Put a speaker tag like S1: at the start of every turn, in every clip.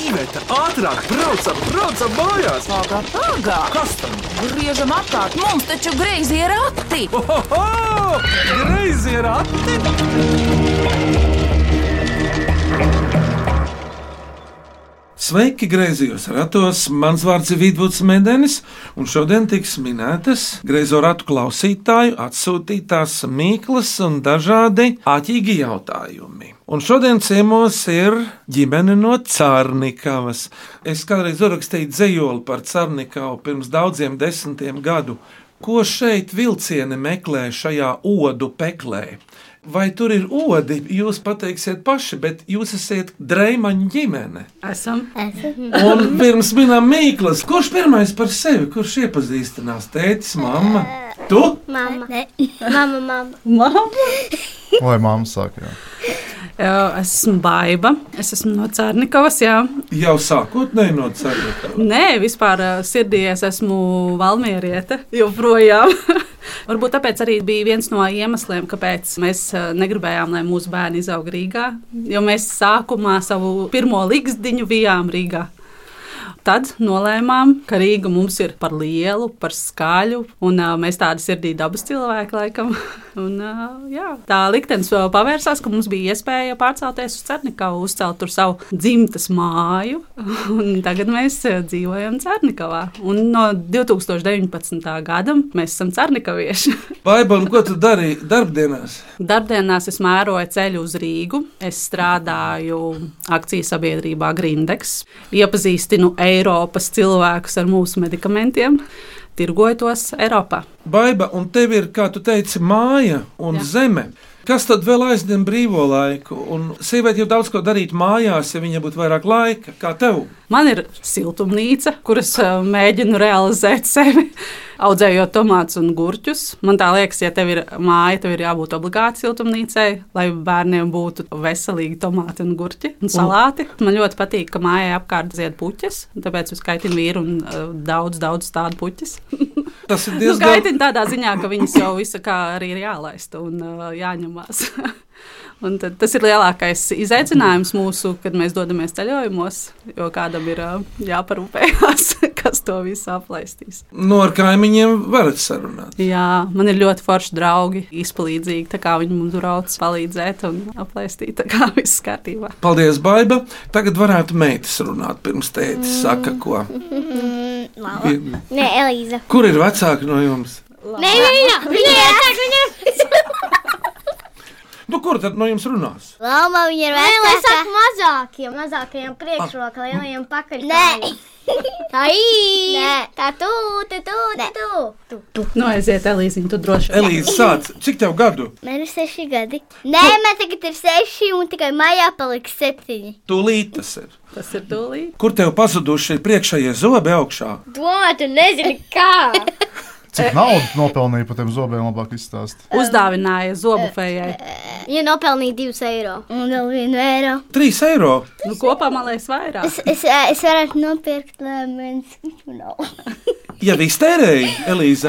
S1: Iveta, ātrāk, braucam, braucam mājās!
S2: Pagā, pagā!
S1: Kas tam?
S2: Griežam apkārt! Mums taču greizi ir rati!
S1: Ohoho! Greizi ir ati!
S3: Sveiki, grazījos ratos. Mans vārds ir Vidvuds Mēdenis, un šodien tiks minētas grazo ratu klausītāju atsūtītās mīklas un dažādi āķīgi jautājumi. Un šodien ciemos ir ģimene no Cārnīkavas. Es kādreiz uzrakstīju dzējoli par Cārnīkavu pirms daudziem desmitiem gadu. Ko šeit vilcieni meklē šajā odu peklē? Vai tur ir odi? Jūs pateiksiet paši, bet jūs esat dreimaņa ģimene.
S4: Esam.
S3: Un pirms minām mīklas, kurš pirmais par sevi, kurš iepazīstinās? Tētis, mamma. Tu?
S5: Mama. mama, mama.
S6: Lai mamma sāk, jā.
S4: Jā, esmu baiva. Es esmu no Cērnikovas. Jā.
S3: Jau sākotnēji no ceļa.
S4: Nē, vispār ā, sirdī es esmu valmieriete. Joprojām. Varbūt tāpēc arī bija viens no iemesliem, kāpēc mēs ā, negribējām, lai mūsu bērni izaug Rīgā. Jo mēs sākumā savu pirmo likstiņu bijām Rīgā. Tad nolēmām, ka Rīga mums ir par lielu, par skaļu, un uh, mēs tādi sirdī dabas cilvēki laikam. un, uh, jā, tā liktenis vēl pavērsās, ka mums bija iespēja pārcelties uz Cernikavu, uzcelt tur savu dzimtas māju, un tagad mēs uh, dzīvojam Cernikavā. Un no 2019. gada mēs esam Cernikavieši.
S3: Baibam, ko tu darīji darbdienās?
S4: Darbdienās es mēroju ceļu uz Rīgu. Es strādāju akciju sabiedrībā Grindex, iepazīstinu Eiropas cilvēkus ar mūsu medikamentiem, tirgoju tos Eiropā.
S3: Baiba, un tev ir, kā tu teici, māja un
S4: Jā.
S3: Jā. zeme. Kas tad vēl aizņem brīvo laiku? Un sieviete jau daudz ko darītu mājās, ja viņai būtu vairāk laika, kā tev.
S4: Man ir siltumnīca, kuras eh, mēģinu realizēt sevi, audzējot tomātus un gurķus. Man tā liekas, ja tev ir māja, tev ir jābūt obligāti siltumnīcai, lai bērniem būtu veselīgi tomāti un gurķi un salāti. Man ļoti patīk, ka mājā apkārt zied puķis, tāpēc es kaitinu vīru un eh, daudz, daudz tādu puķis.
S3: Tas ir
S4: Nu,
S3: diezgan.
S4: kaitinu tādā ziņā, ka viņas jau visu kā arī ir jālaista un eh, jāņemās. Un tad, tas ir lielākais izaicinājums mūsu, kad mēs dodamies ceļojumos, jo kādam ir ā, jāparūpējas, kas to visu aplaistīs.
S3: No ar kaimiņiem varat sarunāt.
S4: Jā, man ir ļoti forši draugi, izpalīdzīgi, tā kā viņi mums brauc palīdzēt un aplaistīt, tā kā viss kārtībā.
S3: Paldies, Baiba. Tagad varētu meitas runāt pirms tētis saka, ko.
S5: Lala.
S3: Vien-
S5: Nē, Elīza.
S3: Kur ir vecāki no jums?
S5: Nē, nē, nē, viņa ir vecāka. Viņa ir
S3: Nu, kur tad no jums runās?
S5: Lama, viņa ir
S7: Nē, lai
S5: vecāka.
S7: saka mazākiem, mazākiem priekšroka, lielajiem pakaļ.
S5: Ah. Nē,
S7: tā ir.
S5: Nē.
S7: Tā tu, tu, tu, tu, tu.
S4: Nu, aiziet, Elīziņ, tu droši vien.
S3: Elīze, sāc, cik tev gadu?
S5: man ir seši gadi. Nē, man tagad ir seši un tikai maijā paliks septiņi.
S3: Tūlīt tas ir.
S4: Tas ir tūlīt.
S3: Kur tev pazuduši ir priekšējie zobi augšā?
S7: Domā, tu nezini kā.
S6: Cik naudas nopelnīja par tiem zobiem, labāk izstāstīt.
S4: Uzdāvināja zobufējai.
S7: Viņa nopelnīja divus eiro.
S5: Un vēl vienu eiro.
S3: 3 eiro.
S4: Nu, kopā man liekas vairāk.
S5: Es, es, ē, es varētu nopirkt lemons. No.
S3: Ja viss tērēji, Elīze,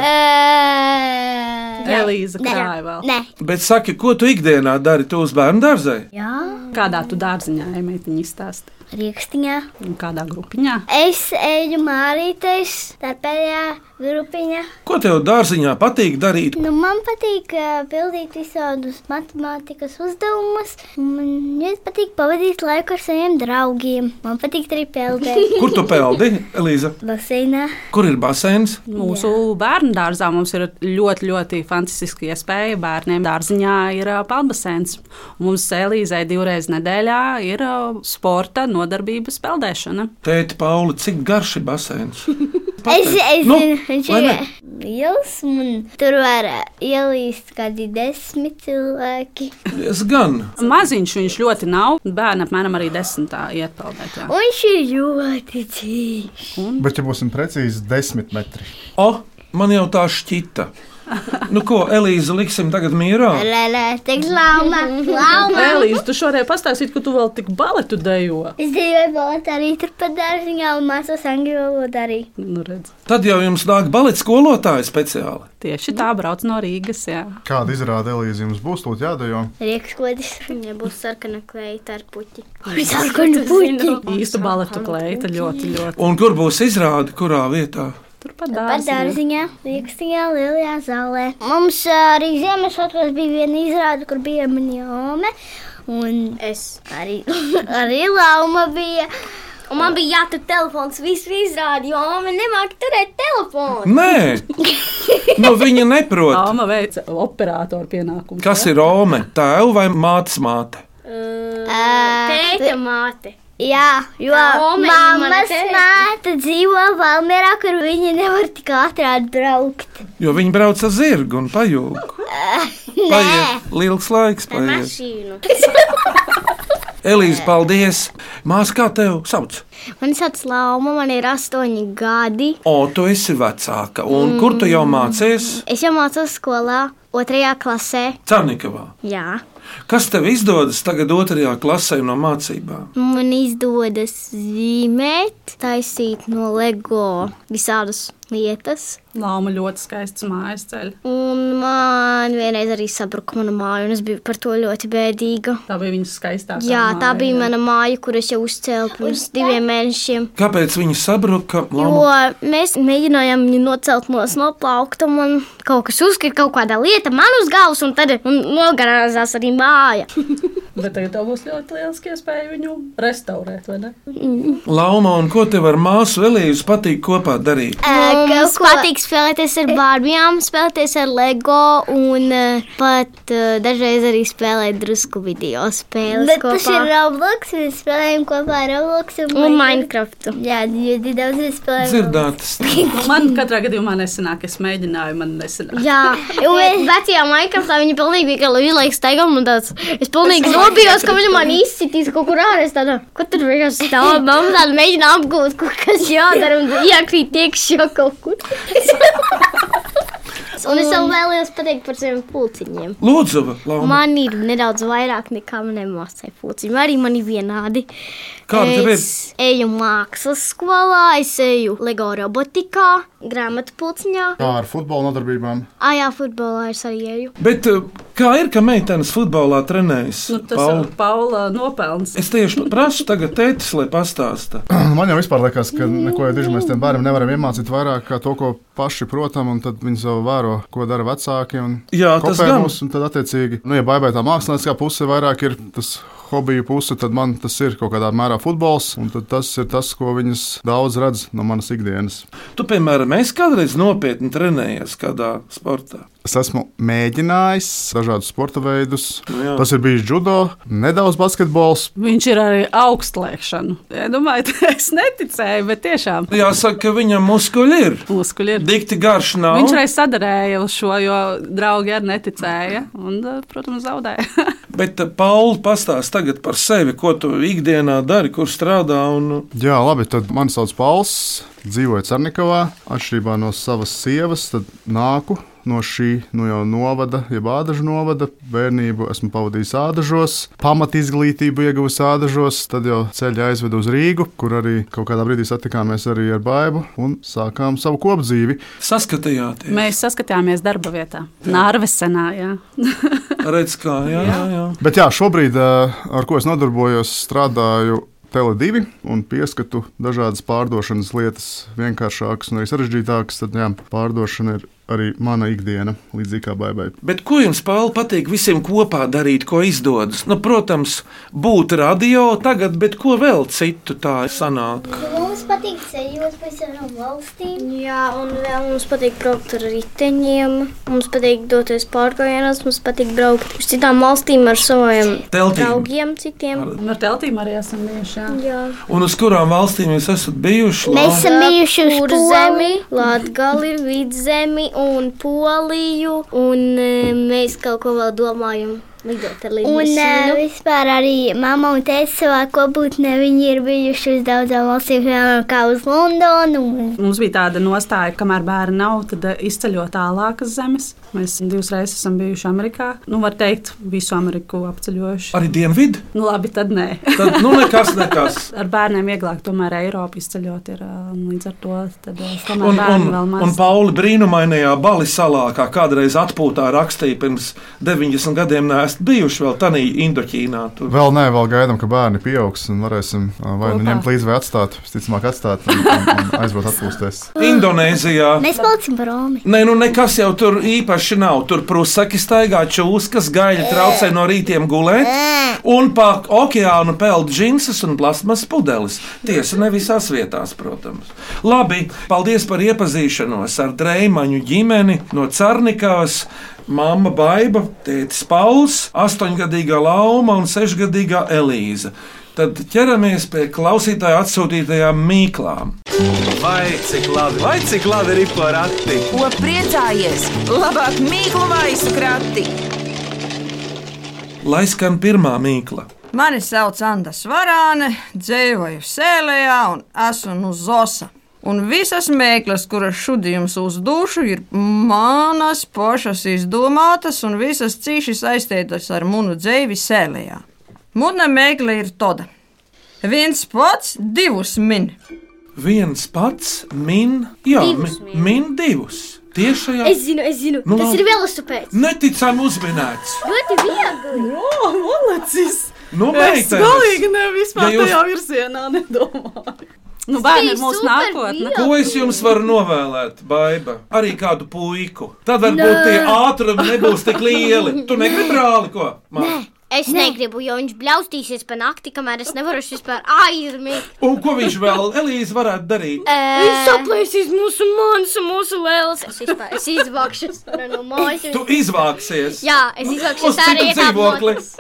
S4: Elīza krāja vēl.
S5: Nē,
S3: bet saki, ko tu ikdienā dari? Tu uz bērnu dārzē?
S5: jā,
S4: Kādā tu dārziņā, ja meitiņa izstāsta?
S5: rīkstiņā.
S4: Un kādā grupiņā?
S5: Es eju mārīties, tāpējā grupiņā.
S3: Ko tev dārziņā patīk darīt?
S5: Nu, man patīk uh, pildīt visādus matemātikas uzdevumus. Man ļoti patīk pavadīt laiku ar saviem draugiem. Man patīk arī peldēt.
S3: Kur tu peldi, Elīze?
S5: Baseinā.
S3: Kur ir basēns?
S4: Mūsu bērnu dārzā mums ir ļoti, ļoti fantastiska iespēja. Bērniem dārziņā ir ā, peldbaseins. Mums Elīzē divreiz nedēļā ir ā, sporta nodarbības peldēšana.
S3: Tēti, Pauli, cik garš ir basēns?
S5: Es, es
S3: Nu,
S5: zinu, viņš
S3: vai
S5: ir
S3: ne?
S5: liels un tur var uh, ielīst kādi desmit cilvēki.
S3: Diezgan.
S4: Maziņš viņš ļoti nav. Bērni apmēram arī desmitā iet peldēt. jā.
S5: Un viņš ir ļoti cīņš.
S6: Bet, ja būsim precīzi, desmit metri.
S3: O, man jau tā šķita. Nu, ko Elīze liksim tagad mierā?
S5: Lē, lē, tik
S7: Lauma, lauma.
S4: Elīze, tu šodien pastāstīji, ka tu vēl tik baletu dejo.
S5: Es dzīvoju balotā arī turpat dārziņā un mācos angļu valodu arī.
S4: Nu, redz,
S3: Tad jau jums nāk balets skolotāja speciāli.
S4: tieši tā brauc no Rīgas. Jā.
S6: Kāda izrāda Elīze jums būs, lūdzu, jādejo?
S5: Riekskodis.
S7: Viņai būs sarkana kleita ar puķi.
S5: Sarkani puķi.
S4: Īstu baletu kleita ļoti, ļoti.
S3: Un kur būs izrāde, kurā vietā?
S4: Turpat
S5: Par
S4: dārziņā.
S5: dārziņā, rīkstiņā, lielajā zālē. Mums ā, arī Ziemassvētkos bija viena izrāde, kur bija minijome. Un
S7: Es.
S5: arī, arī lauma bija.
S7: Un man bija jātur telefons, visu izrādi, jo mamma nemāk turēt telefonu.
S3: Nē, nu, viņa neprot.
S4: Alma veica operātoru pienākumu.
S3: Kas ir Rome? Tēva vai mātes māte?
S7: Ah,
S5: Ā,
S7: Tēta māte.
S5: Jā, jo
S7: Roma ir mana
S5: mammas
S7: tēta.
S5: māte dzīvo Valmierā, kur viņa nevar tik ātri atbraukt.
S3: Jo viņi brauc ar zirgu un pajūgu. Paiet liels laiks, paiet.
S7: Mašīnu.
S3: Elīze, paldies! Mās, kā tev sauc?
S7: Man sauc Lauma, man ir astoņi gadi.
S3: O, tu esi vecāka. Un mm. kur tu jau mācies?
S7: Es jau mācos skolā, otrajā klasē.
S3: Cernikavā.
S7: Jā,
S3: Kas tev izdodas tagad otrajā klasē no mācībām?
S7: man izdodas zīmēt, taisīt no LEGO visādas lietas.
S4: Lauma ļoti skaists mājas ceļš.
S7: Un man vienreiz arī sabruka mana māja, un es biju par to ļoti bēdīga.
S4: Tā bija viņas skaistākā.
S7: Jā, tā
S4: māja,
S7: bija
S4: jā.
S7: mana māja, kur es jau uzcēlu pirms diviem mēnešiem.
S3: Kāpēc viņi sabruka?
S7: Jo
S3: Lama?
S7: mēs mēģinājām viņu nocelt no noplaukta, un man kaut kas uzkrita, kaut kāda lieta man uz galvas, un tad un nogarāzās arī māja.
S4: Bet tagad tev būs ļoti liels iespēja viņu restaurēt, vai ne? Nu,
S3: Lauma, un ko tev ar māsu Elīze patīk kopā darīt?
S7: Mums
S5: Mums
S7: ko... patīk spēlēties ar
S5: E-
S7: bārbijām, spēlēties ar LEGO un eh, pat eh, dažreiz arī spēlēt drusku video spēles.
S5: Bet tas
S7: kopā.
S5: ir Roblox, mēs spēlējam kopā Roblox
S7: un Minecraft.
S5: Jā, ļoti daudz mēs spēlējam.
S3: Dzirdētas.
S4: Nu, Man katrā gadījumā nesanāk, es mēģināju, man nesanāk.
S7: Jā, jau vecajā Minecraftā viņa pilnīgi vienkārši izlaiž staigām un tāds. Es pilnīgi nobijos, ka viņa man izsitīs kaut kur ārā. Es tādu, ko tur vienkārši stāv, mamma tāda mēģina apgūt, ko kas jādara un iekrīt iekšā kaut kur. Un es vēl vēlējos pateikt par saviem pulciņiem.
S3: Lūdzu, Lauma,
S7: Man ir nedaudz vairāk nekā manai māsai pulciņi, vai arī man ir vienādi.
S3: kāda tev ir?
S7: Es eju mākslas skolā, es eju LEGO robotikā, grāmatu pulciņā,
S6: Kā ar futbola nodarbībām?
S7: ajā futbolā es arī eju.
S3: Bet eh, kā ir, ka meitenes futbolā trenējas?
S4: Nu, tas
S3: Paula?
S4: ir Paula nopelns.
S3: Es tieši nu prasu tagad tētis, lai pastāsta.
S6: Man jau vispār liekas, ka neko dižu mēs tiem bērniem nevaram iemācīt vairāk kā to, ko paši protam, un tad viņi jau vēro, ko dara vecāki. un
S3: Jā, tas
S6: kopē
S3: gan.
S6: mūs, un tad, attiecīgi, nu, ja baigā tā mākslinieckā puse vairāk ir tas hobiju puse, tad man tas ir kaut kādā mērā futbols, un tad tas ir tas, ko viņas daudz redz no manas ikdienas.
S3: Tu, piemēram, es kādreiz nopietni trenējies kādā sportā.
S6: Es esmu mēģinājis dažādus sporta veidus.
S3: Nu jā.
S6: Tas ir bijis judo, nedaudz basketbols.
S4: Viņš ir arī augstlēkšana. Es domāju, es neticēju, bet tiešām
S3: Jāsaka, ka viņam muskuļi ir.
S4: muskuļi ir.
S3: Dikti garš nav.
S4: Viņš arī sadarīja uz šo, jo draugi arī neticēja. Un, eh, protams, zaudēja.
S3: Bet eh, Paula pastāsta tagad par sevi, ko tu ikdienā dari, kur strādā. Un... eh,
S6: Jā, labi, tad mani sauc Pauls, dzīvoju Cernikavā. Atšķirībā no savas sievas, tad nāku no šī nu jau novada, jeb ādažu novada. Bērnību esmu pavadījis ādažos, pamat izglītību ieguvis ādažos, tad jau ceļā aizvedu uz Rīgu, kur arī kaut kādā brīdī satikāmies arī ar Baibu un sākām savu kopdzīvi.
S3: Saskatījāties,
S4: Mēs saskatījāmies darba vietā, Nārvesenā. Jā.
S3: redzēt, kā jā, jā, jā.
S6: Bet jā, šobrīd, eh, ar ko es nodarbojos, strādāju Tele2 un pieskatu dažādas pārdošanas lietas, vienkāršākas un arī sarežģītākas. Tad jā, pārdošana ir arī mana ikdiena, līdzīgi kā baigai.
S3: Bet ko jums, Pāvils, patīk visiem kopā darīt, ko izdodas? Nu, protams, būt radio tagad, bet ko vēl citu tā sanāk?
S5: Mums patīk ceļot pa visām valstīm.
S7: Jā, un vēl mums patīk braukt ar riteņiem. Mums patīk doties pārgājienos, mums patīk braukt uz citām valstīm ar saviem
S3: Teltīm.
S7: draugiem, citiem.
S4: Un Nu, Ar teltīm arī esam bijuši. jā.
S7: Jā,
S3: Un uz kurām valstīm jūs esat bijuši?
S5: Mēs esam bijuši uz
S7: kur zemi, Latgali, vidzemi un Poliju, un e, mēs kaut ko vēl domājam. lidot ar
S5: Un eh,
S7: lidmašīnu.
S5: vispār arī mamma un tēta savā kopūtnē viņi ir bijuši uz daudzām valstīm, piemēram, kā uz Londonu. un
S4: Mums bija tāda nostāja, ka kamēr bērni nav, tad eh, izceļot tālākas zemes. Mēs divas reizes esam bijuši Amerikā. Nu, var teikt, visu Ameriku apceļojuši.
S3: Arī dienvidu?
S4: Nu, labi, tad nē.
S3: Tad nu nekas, nekas.
S4: Ar bērniem vieglāk, tomēr Eiropu izceļot ir eh, līdz ar to. Tad, eh, kamēr
S3: Un, un,
S4: bērni vēl
S3: un
S4: maz.
S3: Pauli brīnumainajā Bali salā, kā kādreiz atpūtā rakstīja, pirms 90 gadiem neesat bijuši vēl tādā Indoķīnā. Tur
S6: Vēl nē, vēl gaidām, ka bērni pieaugs un varēsim ā, vai nu
S4: Kopā.
S6: ņemt līdzi, vai atstāt. Visticamāk, atstāt un, un, un aizbraukt atpūsties.
S3: Indonēzijā.
S5: Mēs palicam par Romu.
S3: Nē, nu nekas jau tur īpaši nav. Tur prūsaki staigā čūskas, gaļa traucē no rītiem gulēt, un pa okeānu peld džinsus un plasmas pudeles. Tiesa, ne visās vietās, protams. Labi, paldies par iepazīšanos ar Dreimaņu ģimeni no Cernikavas. Māma Baiba, tētis Pauls, astoņgadīgā Lauma un sešgadīgā Elīza. Tad ķeramies pie klausītāja atsūtītajām mīklām.
S1: Vai cik labi, vai cik labi ir pa rati?
S2: Ko priecājies? Labāk mīklu maisu krati.
S3: Lai skan pirmā mīkla.
S8: Mani sauc Anna Svarāne, dzīvoju Sēlējā un esmu no Zosa. Un visas mēklas, kuras šodien jums uzdūšu, ir manas pašas izdomātas un visas cīši saistītas ar munu dzīvi Sēlējā. Muna mēkla ir tāda. Viens pats, divus min.
S3: viens pats min, jā, divus,
S7: Divus
S3: min. min divus. Tieši šajā
S7: Es zinu, es zinu.
S3: Nu,
S7: Tas
S3: labi.
S7: ir velosipēds.
S3: neticami uzminēts.
S7: Ļoti viegli.
S9: O, Olacis!
S3: Nu,
S9: Es
S3: meitenes,
S9: galīgi ne vispār
S3: Ja jūs-
S9: tajā virzienā nedomāju.
S4: Nu, bērni ir
S7: bija
S4: mūsu
S7: super
S4: nākotne.
S7: viegli.
S3: ko es jums varu novēlēt, baiba? Arī kādu puiku. Tad varbūt tie ātrumi nebūs tik lieli. Tu negribi brāli, ko? Mā.
S7: Es negribu, jo viņš blaustīsies pa nakti, kamēr es nevaru vispār aizmigt.
S3: Un ko viņš vēl, Elīze, varētu darīt?
S5: e,
S7: Viņš saplēsīs mūsu monētu, mūsu lēlas. Es, vispār- es izvākšu šo no mājas.
S3: Tu izvāksies.
S7: Jā, es izvākšu
S3: Uz
S7: šo
S3: citu dzīvokli.
S7: Pers...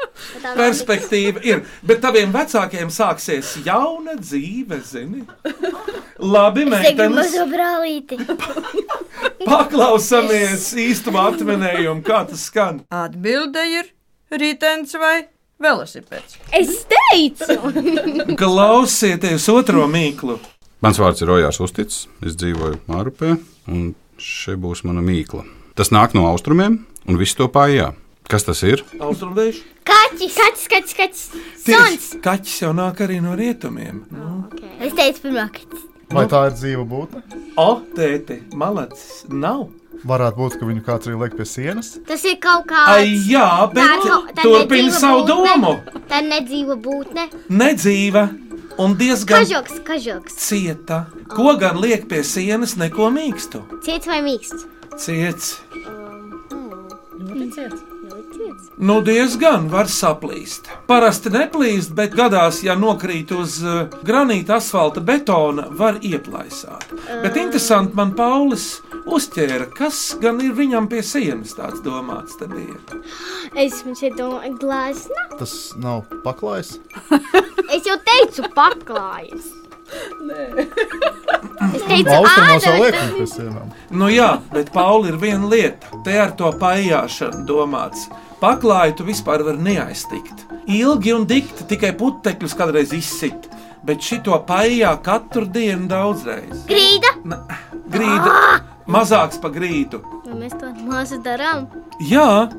S3: Perspektīva ir. Bet taviem vecākiem sāksies jauna dzīve, zini? Labi,
S5: Tagad
S3: meitenes.
S5: mazo brālīti.
S3: Paklausāmies īstenībā atminējumu, kā tas skan.
S8: Atbilde ir rītens vai velosipēds.
S7: Es teicu,
S3: Klausieties otro mīklu.
S10: Mans vārds ir Rojārs Uzticis, es dzīvoju Mārupē, un šeit būs mana mīkla. Tas nāk no austrumiem, un viss to pājā. Kas tas ir?
S3: Austrumvējš.
S7: kaķis, kaķis, kaķis, kaķis. Suns.
S3: Tieši kaķis jau nāk arī no rietumiem.
S5: Es teicu, pirmā kārta.
S6: Vai tā ir dzīva būtne?
S3: O, tēti, malacis nav.
S6: Varētu būt, ka viņu kāds arī liek pie sienas.
S7: Tas ir kaut kā.
S3: Ai, jā, bet
S7: nav- tā
S3: turpini
S7: nu, nedzīva
S3: savu
S7: būtne.
S3: domu.
S7: Tā ir nedzīva būtne.
S3: Nedzīva un diezgan
S7: Kažoks, kažoks.
S3: cieta. Ko gan liek pie sienas, neko mīkstu?
S7: Ciets vai mīksts?
S3: Ciets. Nu, diezgan var saplīst. Parasti neplīst, bet gadās, ja nokrīt uz eh, granīta, asfalta, betona, var ieplaisāt. Bet interesanti, man Paulis uzķēra, kas gan ir viņam pie sienas tāds domāts. tad ir.
S7: Es man šeit domāju, glāzna.
S6: Tas nav paklājs.
S7: Es jau teicu, paklājas. Es teicu,
S6: Austrumos jau
S7: ādara.
S6: liek viņu pie sienām.
S3: Nu jā, bet Pauli ir viena lieta. Te ar to paijāšanu domāts. Paklāju tu vispār var neaiztikt. Ilgi un dikti tikai putekļus kādreiz izsit, bet šito paijā katru dienu daudzreiz.
S7: Grīda.
S3: Grīda mazāks par grīdu.
S7: Vai mēs to mazu darām?
S3: Jā,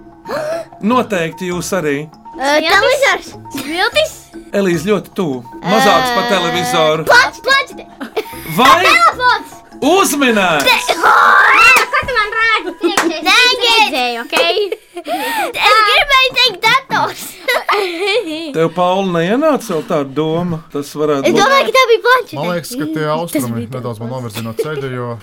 S3: noteikti jūs arī.
S7: Televizors. Viltis.
S3: Elīze ļoti tuvu. Mazāks par televizoru.
S7: Plats, plats.
S3: Vai
S7: Plats.
S3: uzminēt?
S7: Ko tu man rādi? Nē, redzēju, ok? Es gribēju teikt dators.
S3: Tev, Pauli, neienāca vēl tāda doma. Tas varētu
S5: Es
S3: būt.
S5: domāju, ka tā bija
S6: Man
S5: planšeta.
S6: liekas, ka tie austrumi nedaudz man novirzīja no ceļa, jo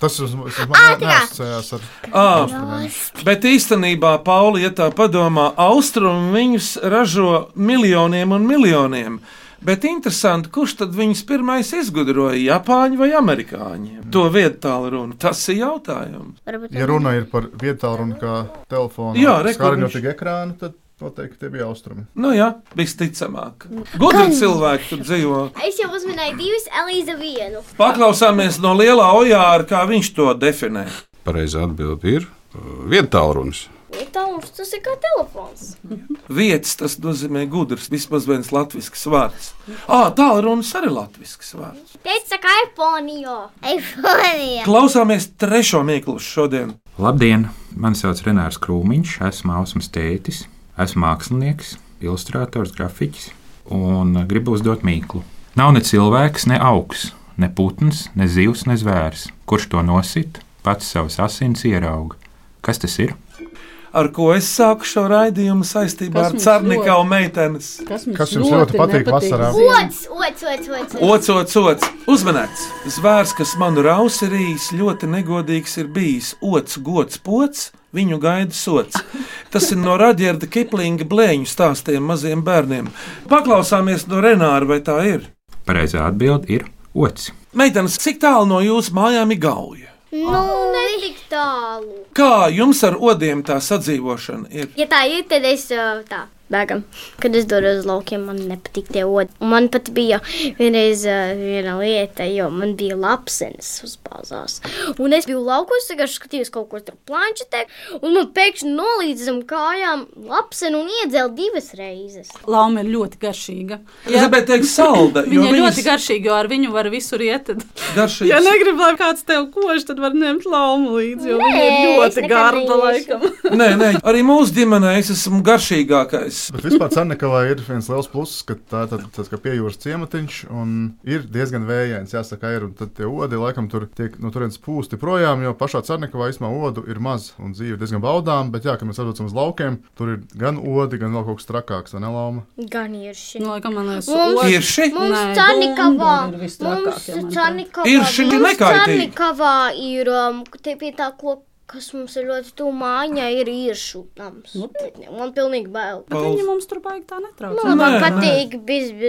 S6: tas uz, uz mani neasociējās ar
S3: À, Ah. bet īstenībā, Pauli, ja tā padomā, austrumi viņus ražo miljoniem un miljoniem. Bet interesanti, kurš tad viņus pirmais izgudroja? Japāņi vai amerikāņi? To vietālu runu. Tas ir jautājums.
S6: Ja runa ir par vietālu runu, kā telefonu,
S3: Jā, re, kur viņš-
S6: skārņotīgu ekrānu, tad noteikti tie bija austrumi.
S3: Nu jā, visticamāk. Gudri cilvēki tur dzīvo.
S7: Es jau uzminēju divus, Elīza vienu.
S3: Paklausāmies no lielā ojāra, kā viņš to definē.
S10: uh, Pareizā atbilde ir vietā runas.
S11: Tālrunis tas ir kā telefons.
S3: Vietas tas nozīmē gudrs, vismaz viens latviešu vārds. Ah, tālrunis arī latviešu vārds.
S7: Teica, ka iPhone jau.
S5: iPhone.
S3: Klausāmies trešo mīklu šodien.
S12: Labdien! Mani sauc Renārs Krūmiņš, esmu Ausmas tētis, esmu mākslinieks, ilustrators, grafiķis un gribu uzdot mīklu. Nav ne cilvēks, ne augs, ne putns, ne zivs, ne zvērs, kurš to nosit, pats savas asins ierauga. Kas tas ir?
S3: Ar ko es sāku šo raidījumu saistībā
S12: Kas
S3: ar
S12: mums
S3: Cārnīkavu
S12: ļoti-
S3: meitenes?
S12: Kas mums Kas jums ļoti ļoti patīk nepatīk? vasarā?
S7: Ots, ots, ots, ots.
S3: Ocots, ots, uzmanīts! Zvērs, kas manu rausirījis, ļoti negodīgs ir bijis. Ots, gods, pots, viņu gaida sots. Tas ir no Radžerda Kiplinga blēņu stāstiem maziem bērniem. Paklausāmies no Renāra, vai tā ir.
S12: Pareizā atbilde ir ots.
S3: Meitenes, cik tālu no jūsu mājām ir gauja?
S7: Nu, netik tālu.
S3: Kā jums ar odiem tā sadzīvošana ir?
S7: Ja tā ir, tad es ā, tā. Bēgam. Kad es dodos uz laukiem, man nepatīk tie odi. Un Man pat bija vienreiz ā, viena lieta, jo man bija lapsenis uz bāzās. Un es biju laukos, vienkārši skatījos kaut ko tur planšetē, un man pēkšņi nolīdz zem kājām lapseni un iedzēl divas reizes.
S4: Lauma ir ļoti garšīga.
S3: Es gribēju teikt, salda. jo
S4: Viņa ir
S3: viņas
S4: ļoti garšīga, jo ar viņu var visur iet. tad-
S3: garšīgas.
S4: Ja negribi, lai kāds tev kož, tad var ņemt laumu līdzi, jo
S9: Nē,
S4: viņa ir
S9: es nekad
S4: ļoti garda
S9: neiešu.
S4: laikam.
S3: Nē, nē, arī mūsu ģimenē es esmu garšīgākais.
S6: Bet vispār Cernekavā ir viens liels pluss, ka tā ir tā, tāds kā piejūras ciematiņš un ir diezgan vējains, jāsaka, ir. Un tad tie odi laikam tur tiek no turienes pūsti projām, jo pašā Cernekavā īstenībā odu ir maz un dzīve ir diezgan baudām, bet jā, kad mēs atrodam uz laukiem, tur ir gan odi, gan vēl kaut kas trakāks, vai ne lauma?
S7: Gan īrši.
S4: No, laikam, man liekas,
S7: Mums-
S4: ots-
S3: Irši?
S7: Mums
S4: Nu, Nē,
S7: Čanikavā
S4: bumba ir
S7: mums
S4: vistrakākie, manuprāt.
S7: Čanikavā-
S3: Irši ir
S7: mums
S3: nekaitīgi.
S7: Čanikavā ir um, te pie tā koka, kas mums ir ļoti tuvu mājā, ir īršu nams.
S4: Nu.
S7: Man pilnīgi bail.
S4: Bet viņi mums tur baigi tā netrauc.
S7: Nu, man patīk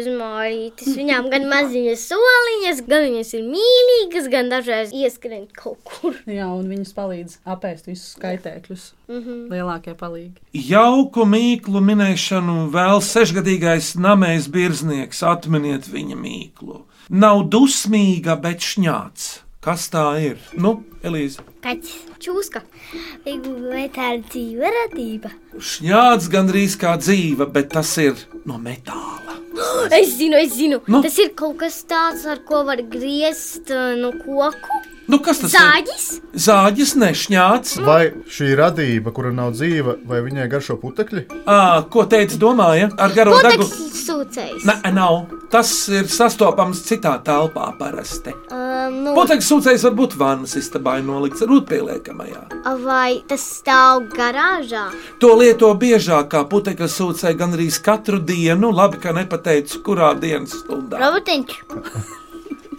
S7: bezmārītis. Viņām gan maziņas soliņas, gan viņas ir mīlīgas, gan dažreiz ieskrien kaut kur.
S4: Jā, un viņas palīdz apēst visus kaitēkļus. Mm -hmm. Lielākie palīgi.
S3: Jauku mīklu minēšanu vēl sešgadīgais namējs birznieks. Atminiet viņa mīklu. Nav dusmīga, bet šņāts. Kas tā ir? Nu, Elīze.
S5: Kaķis. Čūska. Bet tā ir dzīve radība.
S3: Šņāts gandrīz kā dzīve, bet tas ir no metāla.
S7: Es zinu, es zinu. Nu? Tas ir kaut kas tāds, ar ko var griezt uh, no koku.
S3: Nu, kas tas
S7: Zāģis?
S3: ir? Zāģis nešņāts.
S6: Vai šī radība, kura nav dzīva, vai viņai garšo putekļi?
S3: À, ko teica domāja? Ar garo dagu.
S7: Putekļi sūcējs.
S3: Nē, nav. Tas ir sastopams citā telpā parasti.
S7: Um, nu,
S3: Putekļs sūcējs var būt vannas istabā nolikts rūtpieliekamajā.
S7: Vai tas stāv garāžā?
S3: To lieto biežāk, kā putekļa sūcēja gandrīz katru dienu. Labi, ka nepateicu, kurā dienas stundā.
S7: Robotiņš.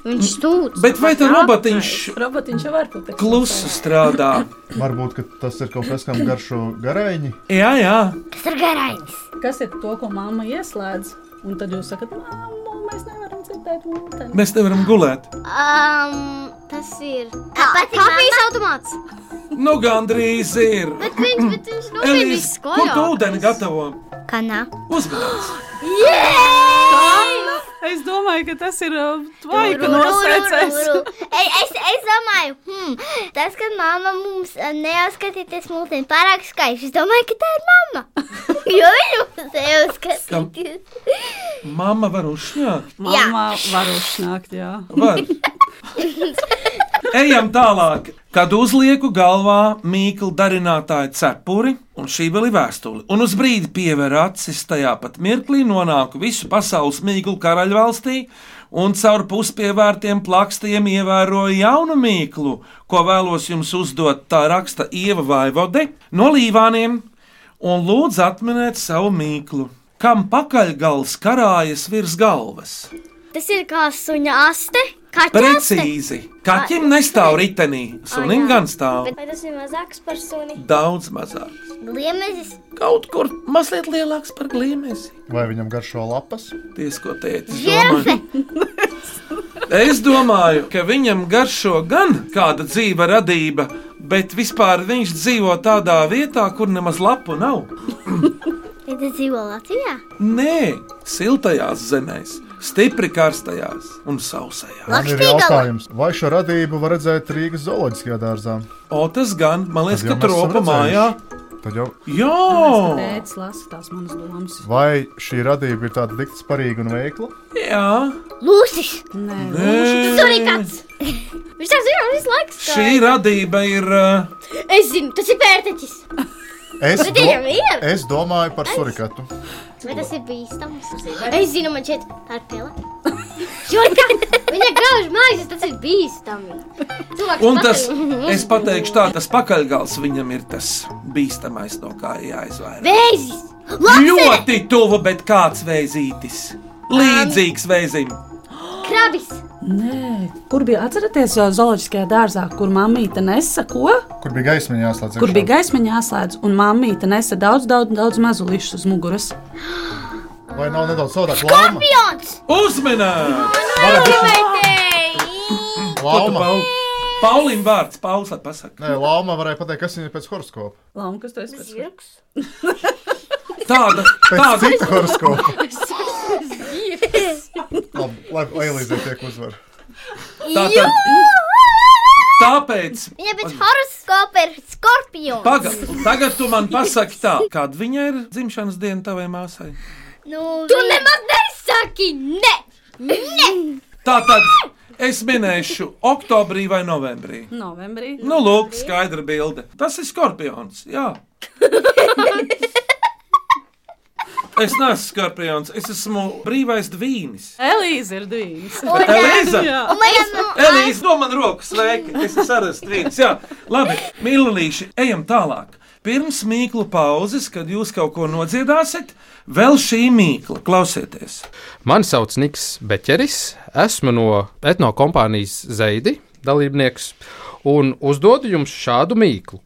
S7: Viņš stūda.
S3: Bet vai tas robotiņš
S4: Robotiņš jau var būt.
S3: klusu strādā?
S6: Varbūt ka tas ir kaut kas, kam garšo garaiņi.
S3: Jā, jā.
S4: Kas ir garainis? Kas ir to, ko mamma ieslēdz? Un tad jūs sakat, mamma, mēs nevaram dzirdēt mūziku.
S3: Mēs nevaram gulēt.
S7: Um, tas ir kafijas automāts.
S3: Nu, gandrīz ir.
S7: Bet viņš, bet viņš nopietni
S3: Elīze, kur tu
S7: skoja.
S3: ūdeni gatavo?
S5: Kanā.
S3: Uzmanības!
S4: Yeah! Es domāju, ka tas ir
S5: Nu,
S4: tvaika nosacēs.
S5: Es, nu, es, es domāju, hmm, tas, ka mamma mums eh, neuzskatīties mūziņu pārāk skaisti. Es domāju, ka tā ir mamma. Jo viņa mums neuzskatīties.
S3: Mamma var uzšņākt.
S4: Mamma var uznākt, jā.
S3: Var. Ejam tālāk. Kad uzlieku galvā mīklu darinātāju cepuri, un šī vēl ir vēstule, un uz brīdi pieveru acis tajā pat mirklī, nonāku visu pasaules mīklu karaļvalstī, un caur puspievērtiem plakstiem ievēroju jaunu mīklu, ko vēlos jums uzdot. Tā raksta Ieva Vaivode no Līvāniem, un lūdzu atminēt savu mīklu. Kam pakaļgals karājas virs galvas?
S7: Tas ir kā suņa aste. Kaķa aste?
S3: Precīzi. Kaķim nestāv ritenī, sunim
S7: jā.
S3: gan stāv.
S7: Bet vai tas ir mazāks par suni?
S3: Daudz mazāk.
S5: Gliemezis.
S3: Kaut kur mazliet lielāks par glīmēzi.
S6: Vai viņam garšo lapas?
S3: Tieši ko teicu. Es domāju, ka viņam garšo gan kāda dzīva radība, bet vispār viņš dzīvo tādā vietā, kur nemaz lapu nav.
S5: Ja tu dzīvo Latvijā?
S3: Nē, siltajās zemēs, stipri karstajās un sausajās.
S6: Man ir
S5: Lakštīgala.
S6: jautājums, vai šo radību var redzēt Rīgas zooloģiskajā dārzā?
S3: O, tas gan, man liekas,
S6: Tad jau
S3: ka
S6: mēs esam
S3: tropa
S6: redzējuši.
S3: mājā
S6: Tad jau
S4: Tāpēc, ka Tēvs lasa tās manas domas.
S6: Vai šī radība ir tāda dikta spārīga un veikla?
S3: Jā,
S5: Lūsis!
S4: Nē,
S5: Tas arī kāds!
S7: Viņš tā zina, viņš laiks.
S3: Šī radība ir. eh, ā,
S7: Es zinu, tas ir pērtiķis.
S6: Es,
S7: Bet viņam ir.
S6: es domāju par surikatu.
S7: Vai tas ir bīstams? Es zinu, man šeit tā ir pele. Šurikāts! Viņa grauž maizes, tas ir bīstami. Cilvēks
S3: Un tas,
S7: pakaļ-
S3: es pateikšu, tā, tas pakaļgals viņam ir tas bīstamais, no kā ir jāizvairās.
S7: Vēzis!
S3: Ļoti tuvu, bet kāds vēzītis. Līdzīgs vēzim.
S7: Krabis!
S4: Nē, kur bija atceraties ā, zooloģiskajā dārzā, kur mammīte nesa ko?
S6: Kur bija gaismiņa jāslēdz?
S4: Kur bija gaismiņa jāslēdz, un mammīte nesa daudz, daudz, daudz mazuļus uz muguras.
S6: gaisa? Vai nav nedaudz savādāk? Lama!
S5: Pions!
S3: Uzmanīgi!
S6: Lama!
S3: Paulim vārds, Pauls, lai pasaka.
S6: Nē, Lama varēja pateikt, kas viņa ir pēc horoskopa.
S4: Lama, kas tas ir?
S3: Tāda,
S6: Pēc
S3: tāda.
S6: cita horoskopa.
S7: Zirgs!
S6: Labi, lai Elīze tiek uzvar.
S3: Tātad, tāpēc,
S5: Viņa pēc horoskopa ir skorpions.
S3: pagad, tagad tu man pasaki tā, kad viņa ir dzimšanas diena tavai māsai.
S5: Nu,
S7: Tu nemaz nesaki! Nē! Nē!
S3: Tātad, es minēšu oktobrī vai novembrī.
S4: Novembrī.
S3: Nu, lūk, skaidra bilde. Tas ir skorpions. Jā. Es neesmu skorpions, es esmu brīvais dvīnis.
S4: Elīze ir dīvains.
S3: Bet Elīza?
S5: Un man jāsaka,
S3: Elīze, no manas rokas sveika. Es esmu arestēts. Jā, labi, mīlīši, ejam tālāk. Pirms mīklu pauzes, kad jūs kaut ko nodziedāsiet, vēl šī mīkla. Klausieties,
S13: Mani sauc Niks Beķeris, esmu no etno kompānijas Zeidi dalībnieks un uzdodu jums šādu mīklu.